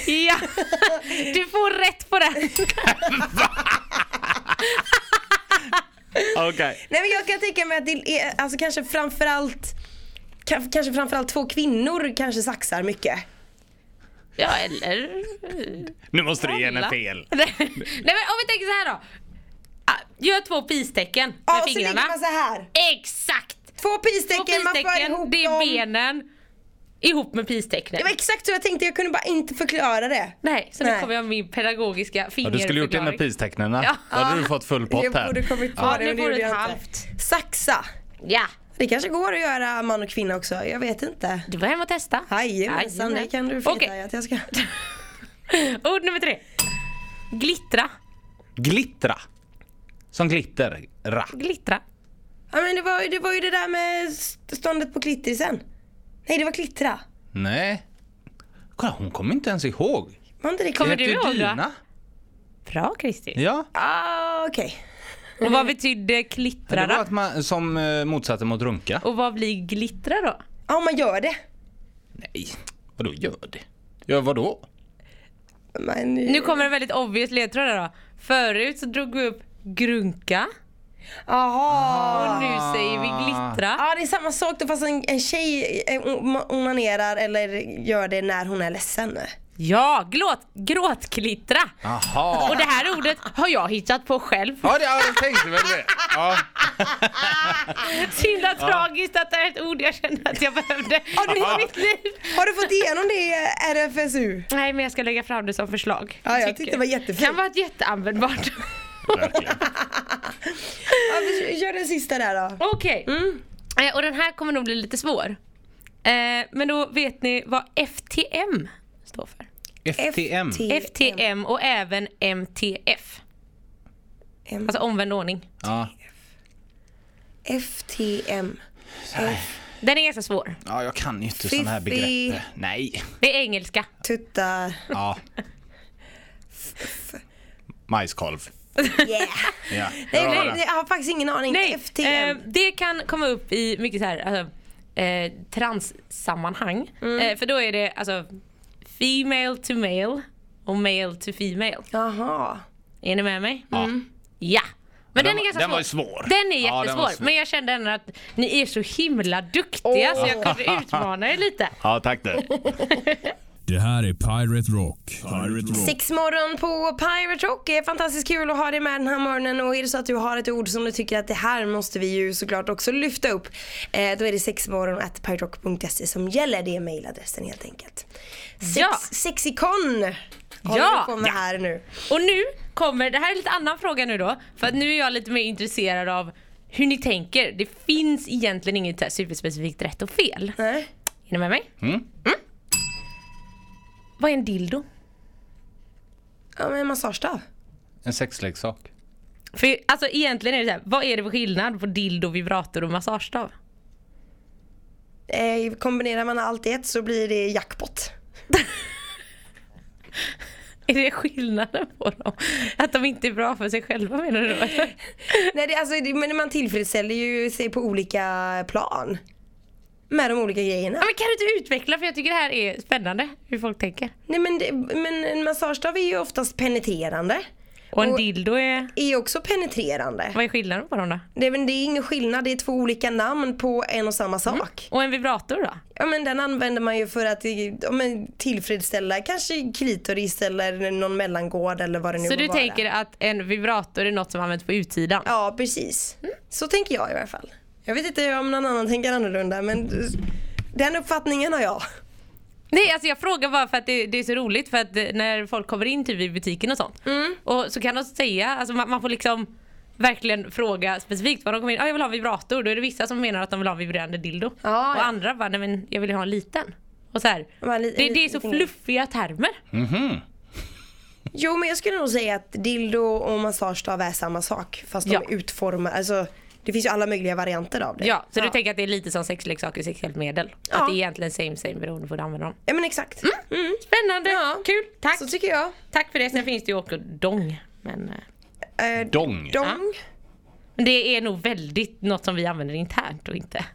Speaker 6: Ja, du får rätt på det.
Speaker 5: Okej.
Speaker 4: Nej men jag kan tänka mig att det är, alltså kanske framförallt ka- Kanske framförallt två kvinnor kanske saxar mycket.
Speaker 6: Ja, eller...
Speaker 5: Nu måste du ge henne
Speaker 6: Alla.
Speaker 5: fel.
Speaker 6: Nej men om vi tänker så här då. Ah, Gör två pistecken med
Speaker 4: Ja, och så ligger
Speaker 6: fingrarna.
Speaker 4: man så här.
Speaker 6: Exakt!
Speaker 4: Två
Speaker 6: Två
Speaker 4: pistecken, man för
Speaker 6: pistecken,
Speaker 4: ihop
Speaker 6: det är
Speaker 4: dem.
Speaker 6: benen ihop med pistecknen.
Speaker 4: Det var exakt så jag tänkte, jag kunde bara inte förklara det.
Speaker 6: Nej, så
Speaker 4: Nej.
Speaker 6: nu kommer jag med min pedagogiska
Speaker 5: Ja, du
Speaker 6: fingerförklaring.
Speaker 5: skulle gjort det med pistecknen. Då hade du fått full pott
Speaker 4: jag borde
Speaker 5: här.
Speaker 4: kommit på
Speaker 5: Ja.
Speaker 4: det,
Speaker 6: nu
Speaker 4: men det
Speaker 6: får
Speaker 4: gjorde
Speaker 6: du ett
Speaker 4: jag inte.
Speaker 6: halvt.
Speaker 4: Saxa.
Speaker 6: Ja,
Speaker 4: Det kanske går att göra man och kvinna också, jag vet inte.
Speaker 6: Du får hem och testa.
Speaker 4: Jajamensan, det kan du få
Speaker 6: Okej.
Speaker 4: okay. att jag ska.
Speaker 6: Ord nummer tre. Glittra.
Speaker 5: Glittra. Som glitter. Ra.
Speaker 6: Glittra.
Speaker 4: Ja men det var, ju- det var ju det där med st- ståndet på klittrisen. Nej det var klittra.
Speaker 5: Nej. Kolla, hon kommer inte ens ihåg.
Speaker 4: Var inte det
Speaker 6: Kommer
Speaker 4: klittra?
Speaker 6: du ihåg då?
Speaker 5: Dina?
Speaker 6: Bra Kristi.
Speaker 5: Ja.
Speaker 4: Ah okej.
Speaker 6: Och vad betydde glittra
Speaker 5: Det var
Speaker 6: då?
Speaker 5: att man, som eh, motsatsen mot
Speaker 4: Oh.
Speaker 5: runka.
Speaker 6: Och vad blir glittra då?
Speaker 4: Ja man gör det.
Speaker 5: Nej, vadå gör det? Gör vadå?
Speaker 4: Men,
Speaker 6: Nu kommer en väldigt obvious ledtråd här då. Förut så drog vi upp grunka
Speaker 4: Aha.
Speaker 6: och nu säger vi glittra.
Speaker 4: Ja det är samma sak då fast en, en tjej eh, on- onanerar eller gör det när hon är ledsen.
Speaker 6: Ja, glåt, gråtglittra.
Speaker 5: Jaha.
Speaker 6: Och det här ordet har jag hittat på själv.
Speaker 5: Ja, det, ja, jag tänkte väl det. Ja.
Speaker 6: Så himla tragiskt att det är ett ord jag kände att jag behövde i mitt liv.
Speaker 4: Har du fått igenom det i RFSU?
Speaker 6: Nej men jag ska lägga fram det som förslag.
Speaker 4: Ja, jag tyckte det var jättefint.
Speaker 6: Kan vara ett jätteanvändbart.
Speaker 5: Verkligen.
Speaker 4: Ja, vi kör den sista där då.
Speaker 6: Okej. Eh, Och den här kommer nog bli lite svår. Eh, men då vet ni vad FTM står för.
Speaker 5: FTM.
Speaker 6: E FTM och även MTF.
Speaker 4: M-
Speaker 6: Alltså omvänd ordning.
Speaker 5: Ja.
Speaker 4: FTM.
Speaker 6: Den är ganska svår.
Speaker 5: ja, jag kan ju inte sådana här
Speaker 4: Fiffi.
Speaker 5: begrepp. Eh, Nej.
Speaker 6: Det är engelska.
Speaker 4: Tuttar.
Speaker 5: Ja. Majskolv.
Speaker 4: Yeah.
Speaker 5: Ja.
Speaker 4: Nej,
Speaker 5: bra
Speaker 4: nej,
Speaker 5: där.
Speaker 4: nej, jag har faktiskt ingen aning.
Speaker 6: Nej,
Speaker 4: FTM.
Speaker 6: eh, det kan komma upp i mycket så här alltså, eh, transsammanhang. Eh, för då är det alltså female to male och male to female.
Speaker 4: Jaha.
Speaker 6: Är ni med mig? Mm.
Speaker 5: Ja.
Speaker 6: Ja. Men den,
Speaker 5: Den
Speaker 6: är
Speaker 5: var-
Speaker 6: ganska
Speaker 5: den
Speaker 6: svår.
Speaker 5: var ju svår.
Speaker 6: Den är
Speaker 5: Ja,
Speaker 6: jättesvår.
Speaker 5: den var svår.
Speaker 6: Men jag kände ändå att ni är så himla duktiga så jag kunde utmana er lite.
Speaker 5: Ja, tack du.
Speaker 1: Det här är Pirate Rock. Pirate Rock.
Speaker 4: Sex morgon på Pirate Rock. Det är fantastiskt kul att ha dig med den här morgonen. Och är det så att du har ett ord som du tycker att det här måste vi ju såklart också lyfta upp. Eh, då är det sexmorgon at piraterock.se som gäller. Det är mejladressen helt enkelt. Sex,
Speaker 6: Ja.
Speaker 4: Sexikon håller
Speaker 6: Ja.
Speaker 4: du på med här nu.
Speaker 6: Och nu kommer, det här är lite annan fråga nu då. För att nu är jag lite mer intresserad av hur ni tänker. Det finns egentligen inget så här superspecifikt rätt och fel.
Speaker 4: Nej.
Speaker 6: Är ni med mig? Mm. Vad är en dildo?
Speaker 4: Ja men en massagestav.
Speaker 5: En sexleksak.
Speaker 6: För alltså egentligen är det så här, vad är det för skillnad på dildo, vibrator och massagestav?
Speaker 4: Eh, kombinerar man allt i ett så blir det jackpot.
Speaker 6: Är det skillnaden på dem? Att de inte är bra för sig själva menar du då?
Speaker 4: Nej, det, alltså, det, men man tillfredsställer ju sig på olika plan. Med de olika grejerna.
Speaker 6: Ja, men kan du inte utveckla för jag tycker det här är spännande hur folk tänker.
Speaker 4: Nej, men, det, men en massagestav är ju oftast penetrerande.
Speaker 6: Och en
Speaker 4: Och-
Speaker 6: dildo är,
Speaker 4: Är ju också penetrerande.
Speaker 6: vad är skillnaden på dem då?
Speaker 4: Det, men det är ingen skillnad, det är två olika namn på en och
Speaker 6: Mm.
Speaker 4: samma sak.
Speaker 6: Och en vibrator då?
Speaker 4: Ja men den använder man ju för att eh, ja, men, tillfredsställa kanske klitoris eller någon mellangård eller vad det nu
Speaker 6: Så
Speaker 4: må
Speaker 6: du
Speaker 4: vara.
Speaker 6: tänker att en vibrator är något som används på utsidan?
Speaker 4: Ja precis. Så tänker jag i alla fall. Jag vet inte om någon annan tänker annorlunda men den uppfattningen har jag.
Speaker 6: Nej alltså jag frågar bara för att det, det är så roligt för att eh, när folk kommer in typ i butiken och sånt
Speaker 4: Mm.
Speaker 6: och så kan de säga, alltså man, man får liksom verkligen fråga specifikt vad de kommer in, ah, jag vill ha en vibrator, då är det vissa som menar att de vill ha en vibrerande dildo
Speaker 4: Ja,
Speaker 6: och
Speaker 4: ja.
Speaker 6: andra bara nej men jag vill ha en liten. Och så här,
Speaker 4: Ja, en li-
Speaker 6: det,
Speaker 4: en
Speaker 6: det är så
Speaker 4: liten-
Speaker 6: fluffiga termer.
Speaker 4: Jo men jag skulle nog säga att dildo och massagestav är samma sak fast
Speaker 6: Ja.
Speaker 4: de är utformade, alltså det finns ju alla möjliga varianter av det.
Speaker 6: Ja, så du tänker att det är lite som sexleksaker och sexuellt medel?
Speaker 4: Ja.
Speaker 6: Att det är egentligen same same beroende på hur du använder dem.
Speaker 4: Ja men exakt. Mm.
Speaker 6: Spännande, kul, tack!
Speaker 4: Så tycker jag.
Speaker 6: Tack för det, sen finns det ju också dong. Men, eh,
Speaker 4: Eh,
Speaker 5: Dong.
Speaker 4: dong.
Speaker 6: men det är nog väldigt något som vi använder internt och inte.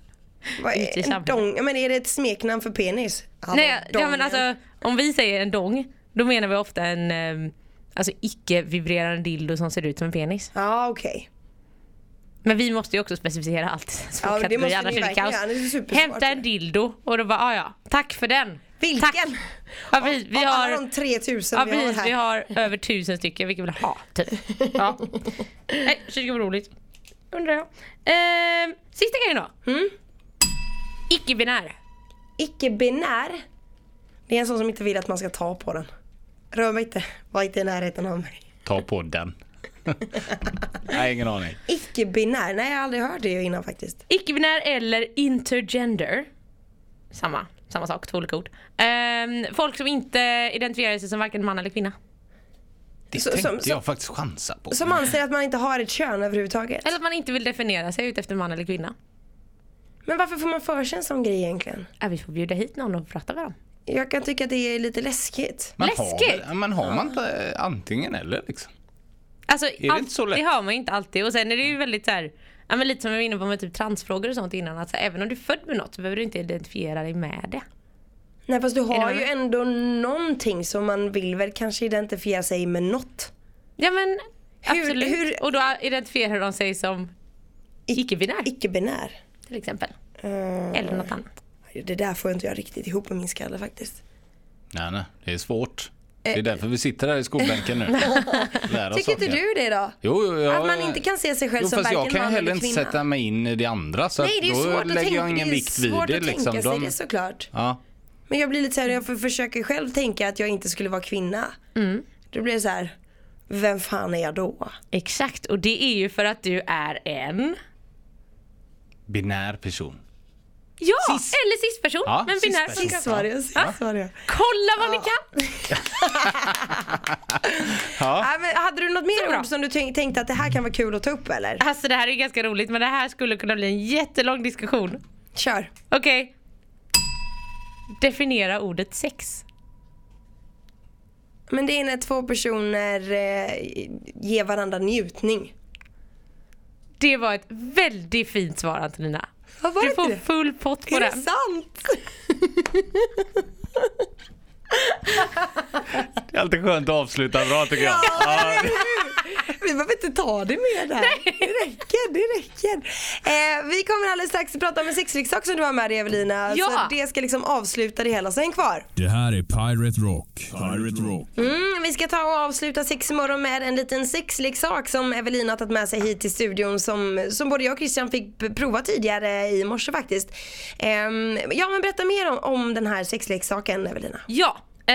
Speaker 4: Vad
Speaker 6: Ute i
Speaker 4: är en
Speaker 6: samhället.
Speaker 4: dong? Ja, men är det ett smeknamn för penis? Ja,
Speaker 6: Nej,
Speaker 4: dong.
Speaker 6: ja, men alltså, om vi säger en dong, då menar vi ofta en eh, alltså, icke-vibrerande dildo som ser ut som en penis.
Speaker 4: Ja okej.
Speaker 6: Men vi måste ju också specificera allt. Så
Speaker 4: Ja, det
Speaker 6: kategori,
Speaker 4: måste
Speaker 6: annars
Speaker 4: ni
Speaker 6: är det
Speaker 4: verkligen
Speaker 6: kaos.
Speaker 4: göra, det är supersvårt.
Speaker 6: Hämta en dildo och då bara, ah, ja, tack för den.
Speaker 4: Vilken?
Speaker 6: Tack. Ja, vi, vi
Speaker 4: Av
Speaker 6: har...
Speaker 4: alla de 3000
Speaker 6: Ja
Speaker 4: vi har
Speaker 6: precis, vi
Speaker 4: här.
Speaker 6: har över tusen stycken, vilka vill ha typ. Ja. Nej, så det var roligt. Undrar jag. Ehm, sista grejen då.
Speaker 4: Mm.
Speaker 6: Icke-binär.
Speaker 4: Icke-binär. Det är en sån som inte vill att man ska ta på den. Rör mig inte, var inte i närheten av mig.
Speaker 5: Ta på den. Nej, ingen aning.
Speaker 4: Icke-binär, nej jag har aldrig hört det innan faktiskt.
Speaker 6: Icke-binär eller intergender. Samma, samma sak, två olika ord. Ehm, folk som inte identifierar sig som varken man eller kvinna.
Speaker 5: Det
Speaker 4: Så-
Speaker 5: tänkte
Speaker 4: som- som-
Speaker 5: jag faktiskt chansa på.
Speaker 4: Som anser att man inte har ett kön överhuvudtaget.
Speaker 6: Eller att man inte vill definiera sig ut efter man eller kvinna.
Speaker 4: Men varför får man för sig en sån grej egentligen?
Speaker 6: Äh, vi får bjuda hit någon och prata med dem.
Speaker 4: Jag kan tycka att det är lite läskigt.
Speaker 5: man
Speaker 6: läskigt.
Speaker 5: Har, väl- men har man inte eh, antingen eller liksom?
Speaker 6: Alltså,
Speaker 5: det
Speaker 6: allt-
Speaker 5: inte så lätt?
Speaker 6: det har man ju inte alltid. Och sen är det ju väldigt så här, ja, men lite som vi var inne på med typ transfrågor och sånt innan. Alltså, även om du är född med något så behöver du inte identifiera dig med det.
Speaker 4: Nej fast du har
Speaker 6: det
Speaker 4: ju
Speaker 6: vad-
Speaker 4: ändå någonting som man vill väl kanske identifiera sig med något.
Speaker 6: Ja men
Speaker 4: Hur-
Speaker 6: absolut.
Speaker 4: hur-
Speaker 6: Och då identifierar de sig som
Speaker 4: Ic-
Speaker 6: icke-binär
Speaker 4: Icke-binär.
Speaker 6: till exempel.
Speaker 4: Eh,
Speaker 6: Eller något annat.
Speaker 4: det där får inte jag riktigt ihop i min skalle faktiskt.
Speaker 5: Nej, nej, det är svårt. Det är därför vi sitter här i skolbänken nu. Lär oss
Speaker 4: Eh. Tycker inte
Speaker 5: saker.
Speaker 4: du det då?
Speaker 5: Jo, jo, jag,
Speaker 4: Att man inte kan se sig själv
Speaker 5: jo,
Speaker 4: som
Speaker 5: fast jag
Speaker 4: varken
Speaker 5: kan ju
Speaker 4: man
Speaker 5: heller
Speaker 4: eller
Speaker 5: inte
Speaker 4: kvinna.
Speaker 5: sätta mig in i det andra så
Speaker 4: Nej det är
Speaker 5: att då
Speaker 4: svårt att
Speaker 5: lägger
Speaker 4: tänka,
Speaker 5: jag ingen
Speaker 4: det är
Speaker 5: vikt vid
Speaker 4: svårt
Speaker 5: det.
Speaker 4: att
Speaker 5: Liksom.
Speaker 4: tänka sig
Speaker 5: De-
Speaker 4: det såklart.
Speaker 5: ja.
Speaker 4: Men jag blir lite såhär, jag för- försöker själv tänka att jag inte skulle vara kvinna. Då blir det så här, vem fan är jag då?
Speaker 6: Exakt och det är ju för att du är en
Speaker 5: Binär person.
Speaker 6: Ja! Eller cisperson.
Speaker 5: Ja,
Speaker 6: men binär
Speaker 5: cisperson.
Speaker 6: funkar.
Speaker 4: Sist var det, sist var det.
Speaker 6: Kolla vad ni kan!
Speaker 4: Ja, men hade du något
Speaker 6: Så
Speaker 4: mer
Speaker 6: bra.
Speaker 4: ord som du tänk- tänkte att det här kan vara kul att ta upp eller?
Speaker 6: Alltså det här är ganska roligt men det här skulle kunna bli en jättelång diskussion.
Speaker 4: Kör.
Speaker 6: Okej. Definiera ordet sex.
Speaker 4: Men det är när två personer eh, ger varandra njutning.
Speaker 6: Det var ett väldigt fint svar Antonina.
Speaker 4: Vad var
Speaker 6: Du
Speaker 4: det
Speaker 6: får
Speaker 4: det?
Speaker 6: full pott på
Speaker 4: Är det
Speaker 6: den.
Speaker 4: sant?
Speaker 5: Det är alltid skönt att avsluta bra tycker jag.
Speaker 4: Vi behöver inte ta det mer där. Det räcker, det räcker. Eh, vi kommer alldeles strax att prata om en sexleksak som du har med dig Evelina.
Speaker 6: Ja.
Speaker 4: Så det ska liksom avsluta det hela, så häng kvar.
Speaker 1: Det här är Pirate Rock. Pirate Rock.
Speaker 4: Mm, vi ska ta och avsluta sexmorgon med en liten sexleksak som Evelina har tagit med sig hit till studion som, som både jag och Christian fick p- prova tidigare i morse faktiskt. Ehm, ja men berätta mer om, om den här sexleksaken Evelina.
Speaker 6: Ja, eh,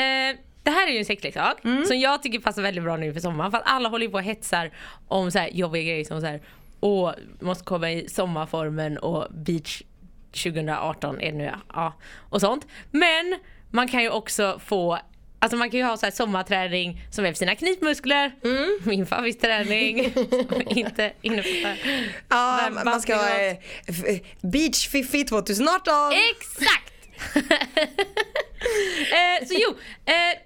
Speaker 6: det här är ju en sexleksak som jag tycker passar väldigt bra nu för sommaren. För att alla håller ju på och hetsar om så här jobbiga grejer som så här, och måste komma i sommarformen och beach 2018 är det nu ja. ja. Och sånt. Men man kan ju också få Alltså man kan ju ha så här sommarträning som är för sina knipmuskler, min favvitträning. inte innefattar.
Speaker 4: Ja,
Speaker 6: Varm-
Speaker 4: man ska ha
Speaker 6: vatten-
Speaker 4: eh, f- beach fiffi 2018.
Speaker 6: Exakt! eh, så jo, eh,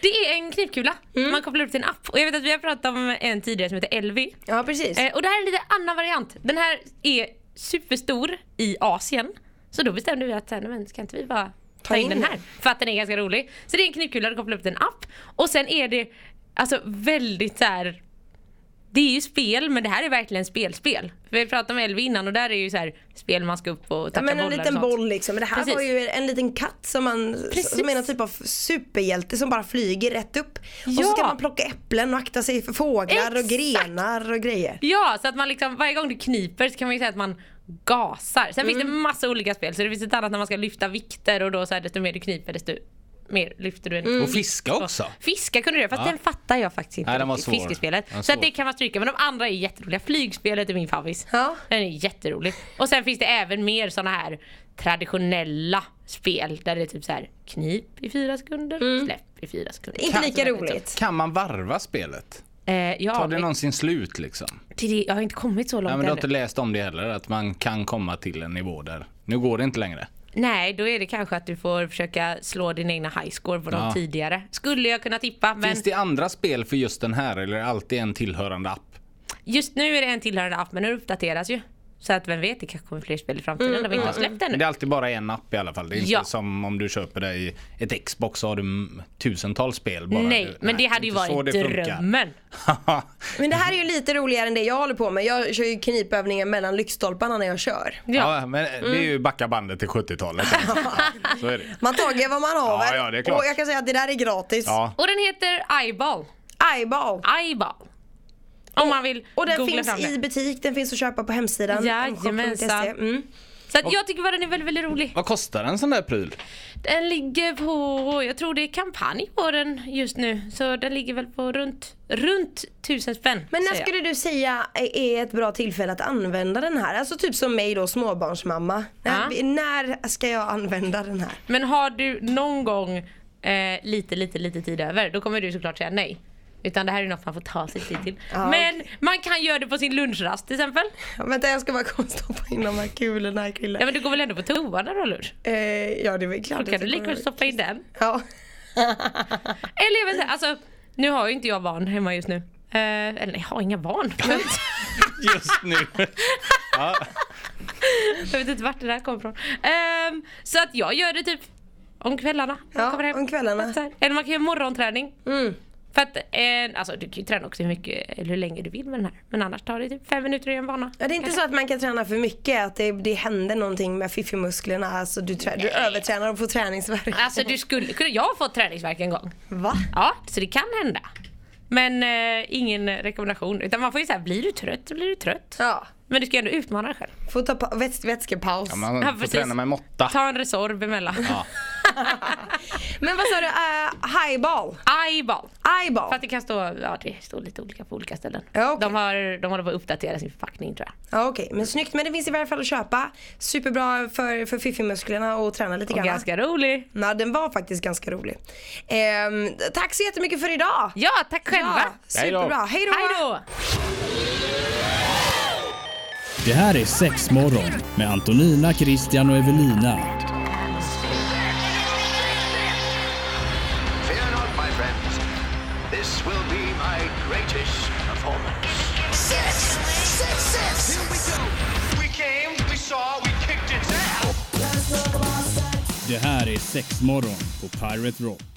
Speaker 6: det är en knivkula.
Speaker 4: Mm.
Speaker 6: Man kopplar upp till en app. Och jag vet att vi har pratat om en tidigare som heter Elvi.
Speaker 4: Ja precis.
Speaker 6: Eh, och det här är en lite annan variant. Den här är superstor i Asien. Så då bestämde vi att så här, "Nej, men ska inte vi bara ta in den här? För att den är ganska rolig. Så det är en knivkula, du kopplar upp till en app. Och sen är det alltså väldigt så här. Det är ju spel men det här är verkligen spelspel. Vi pratade med Elvi innan och där är ju så här spel man ska upp och
Speaker 4: Ja,
Speaker 6: tacka
Speaker 4: men en
Speaker 6: bollar och
Speaker 4: liten
Speaker 6: sånt.
Speaker 4: boll liksom. Men det här
Speaker 6: Precis.
Speaker 4: var ju en liten katt som, man,
Speaker 6: Precis.
Speaker 4: som är någon typ av superhjälte som bara flyger rätt upp. Och så
Speaker 6: Ja.
Speaker 4: ska man plocka äpplen och akta sig för fåglar och
Speaker 6: Exakt.
Speaker 4: grenar och grejer.
Speaker 6: Ja, så att man liksom varje gång du kniper så kan man ju säga att man gasar. Sen finns det
Speaker 5: Mm.
Speaker 6: massa olika spel. Så det finns ett annat när man ska lyfta vikter och då så här, desto mer du kniper desto mer lyfter du en
Speaker 5: Och
Speaker 4: Mm.
Speaker 5: fiska också.
Speaker 6: Fiska kunde du göra, fast den fattar jag faktiskt inte.
Speaker 5: Mm. Nej, den var
Speaker 6: riktigt,
Speaker 5: svår.
Speaker 6: Fiskespelet.
Speaker 5: Den var
Speaker 6: Så att
Speaker 5: svår.
Speaker 6: det kan man stryka. Men de andra är jätteroliga. Flygspelet är min favorit.
Speaker 4: Ja.
Speaker 6: Den är jätterolig. Och sen finns det även mer såna här traditionella spel där det är typ så här knip i fyra sekunder,
Speaker 5: Mm.
Speaker 6: släpp i fyra sekunder.
Speaker 4: Inte lika
Speaker 6: Så där, liksom.
Speaker 4: roligt.
Speaker 5: Kan man varva spelet?
Speaker 6: Eh, ja,
Speaker 5: Tar det
Speaker 6: men-
Speaker 5: någonsin slut liksom?
Speaker 6: det, det, jag har inte kommit så långt
Speaker 5: Nej, men du
Speaker 6: ännu.
Speaker 5: har inte läst om det heller, att man kan komma till en nivå där. Nu går det inte längre.
Speaker 6: Nej, då är det kanske att du får försöka slå din egna highscore på de
Speaker 5: Ja.
Speaker 6: tidigare. Skulle jag kunna tippa, men
Speaker 5: Finns det andra spel för just den här eller är det alltid en tillhörande app?
Speaker 6: just nu är det en tillhörande app, men den uppdateras ju. Så att vem vet, det kanske kommer fler spel i framtiden.
Speaker 4: Mm,
Speaker 6: de har inte har släppt
Speaker 5: Men
Speaker 6: ännu.
Speaker 5: Mm. det är alltid bara en app i alla fall. Det är inte
Speaker 6: Ja.
Speaker 5: som om du köper dig ett Xbox så har du mm, tusentals spel bara.
Speaker 6: Nej, men det hade ju
Speaker 5: inte så
Speaker 6: varit
Speaker 5: det funkar.
Speaker 6: drömmen.
Speaker 4: Men det här är ju lite roligare än det jag håller på med. Jag kör ju knipövningar mellan lyktstolparna när jag kör.
Speaker 6: Ja.
Speaker 5: Ja, men det är ju
Speaker 6: Mm.
Speaker 5: backa bandet till 70-talet. så är det.
Speaker 4: Man tager vad man har
Speaker 5: Ja,
Speaker 4: väl?
Speaker 5: ja, det är klart.
Speaker 4: Och jag kan säga att det där är gratis.
Speaker 5: Ja.
Speaker 6: Och den heter Eyeball.
Speaker 4: Eyeball.
Speaker 6: Eyeball. Om man vill
Speaker 4: Och den
Speaker 6: googla
Speaker 4: finns
Speaker 6: fram det.
Speaker 4: i butik, den finns att köpa på hemsidan.
Speaker 6: Jajamensan.
Speaker 4: mshop.se. Mm.
Speaker 6: Så att jag tycker bara den är väldigt, väldigt rolig.
Speaker 5: Vad kostar en sån där pryl?
Speaker 6: Den ligger på, jag tror det är kampanj på den just nu. Så den ligger väl på runt, runt tusen spänn.
Speaker 4: Men när
Speaker 6: säger jag.
Speaker 4: skulle du säga är ett bra tillfälle att använda den här? Alltså typ som mig då, småbarnsmamma. När,
Speaker 6: Ja.
Speaker 4: när ska jag använda den här?
Speaker 6: Men har du någon gång eh, lite, lite, lite tid över, då kommer du såklart säga nej. Utan det här är något man får ta sig tid till.
Speaker 4: Ja,
Speaker 6: Men man kan göra det på sin lunchrast till exempel.
Speaker 4: Ja, vänta jag ska bara komma och stoppa in de här kulorna i
Speaker 6: Ja
Speaker 4: killen.
Speaker 6: men du går väl ändå på toa när du har lunch?
Speaker 4: Eh, ja det är väl klart.
Speaker 6: Då
Speaker 4: att
Speaker 6: kan du
Speaker 4: jag
Speaker 6: lika
Speaker 4: kommer-
Speaker 6: väl stoppa in den.
Speaker 4: Ja.
Speaker 6: Eller jag vet inte, alltså nu har ju inte jag barn hemma just nu. Eh, eller jag har inga barn.
Speaker 5: Just nu.
Speaker 6: jag vet inte vart det där kom ifrån. Ehm, så att jag gör det typ om kvällarna. när jag
Speaker 4: Ja,
Speaker 6: kommer hem.
Speaker 4: om kvällarna.
Speaker 6: Så här. Eller man kan göra morgonträning.
Speaker 4: Mm.
Speaker 6: För att, eh, alltså du kan ju träna också hur mycket eller hur länge du vill med den här. Men annars tar det typ fem minuter i en bana.
Speaker 4: Ja, det är inte så att man kan träna för mycket, att det, det händer någonting med fiffimusklerna. Alltså du, trä- du övertränar och får träningsvärk.
Speaker 6: Alltså du skulle kunna, jag har fått träningsvärk en gång.
Speaker 4: Va?
Speaker 6: Ja, så det kan hända. Men eh, ingen rekommendation. Utan man får ju säga, blir du trött så blir du trött.
Speaker 4: Ja.
Speaker 6: Men du ska ju ändå utmana dig själv.
Speaker 4: Får ta pa- väts- vätskepaus.
Speaker 5: Ja, man
Speaker 6: Ja,
Speaker 5: får
Speaker 6: precis.
Speaker 5: träna med måtta.
Speaker 6: Ta en Resorb emellan.
Speaker 5: Ja.
Speaker 4: Men vad sa du? Uh, highball?
Speaker 6: Eyeball. För
Speaker 4: Eyeball?
Speaker 6: att det kan stå, ja det står lite olika på olika ställen.
Speaker 4: Ja, okej.
Speaker 6: de, har, de håller på att uppdatera sin förpackning tror jag.
Speaker 4: Ja, Okej, men snyggt. Men det finns i varje fall att köpa. Superbra för, för fiffimusklerna och träna lite
Speaker 6: Och
Speaker 4: grann.
Speaker 6: ganska rolig.
Speaker 4: Nej, den var faktiskt ganska rolig. Ehm, tack så jättemycket för idag!
Speaker 6: Ja, tack själva.
Speaker 5: Hej då.
Speaker 4: superbra. Hej då!
Speaker 6: Hej då!
Speaker 1: Det här är sex morgon med Antonina, Christian och Evelina.
Speaker 2: Fear not, my friends. This will be my greatest performance.
Speaker 3: Six, six, six. Here we go.
Speaker 2: We came, we saw, we kicked its ass.
Speaker 1: Det här är sex morgon på Pirate Rock.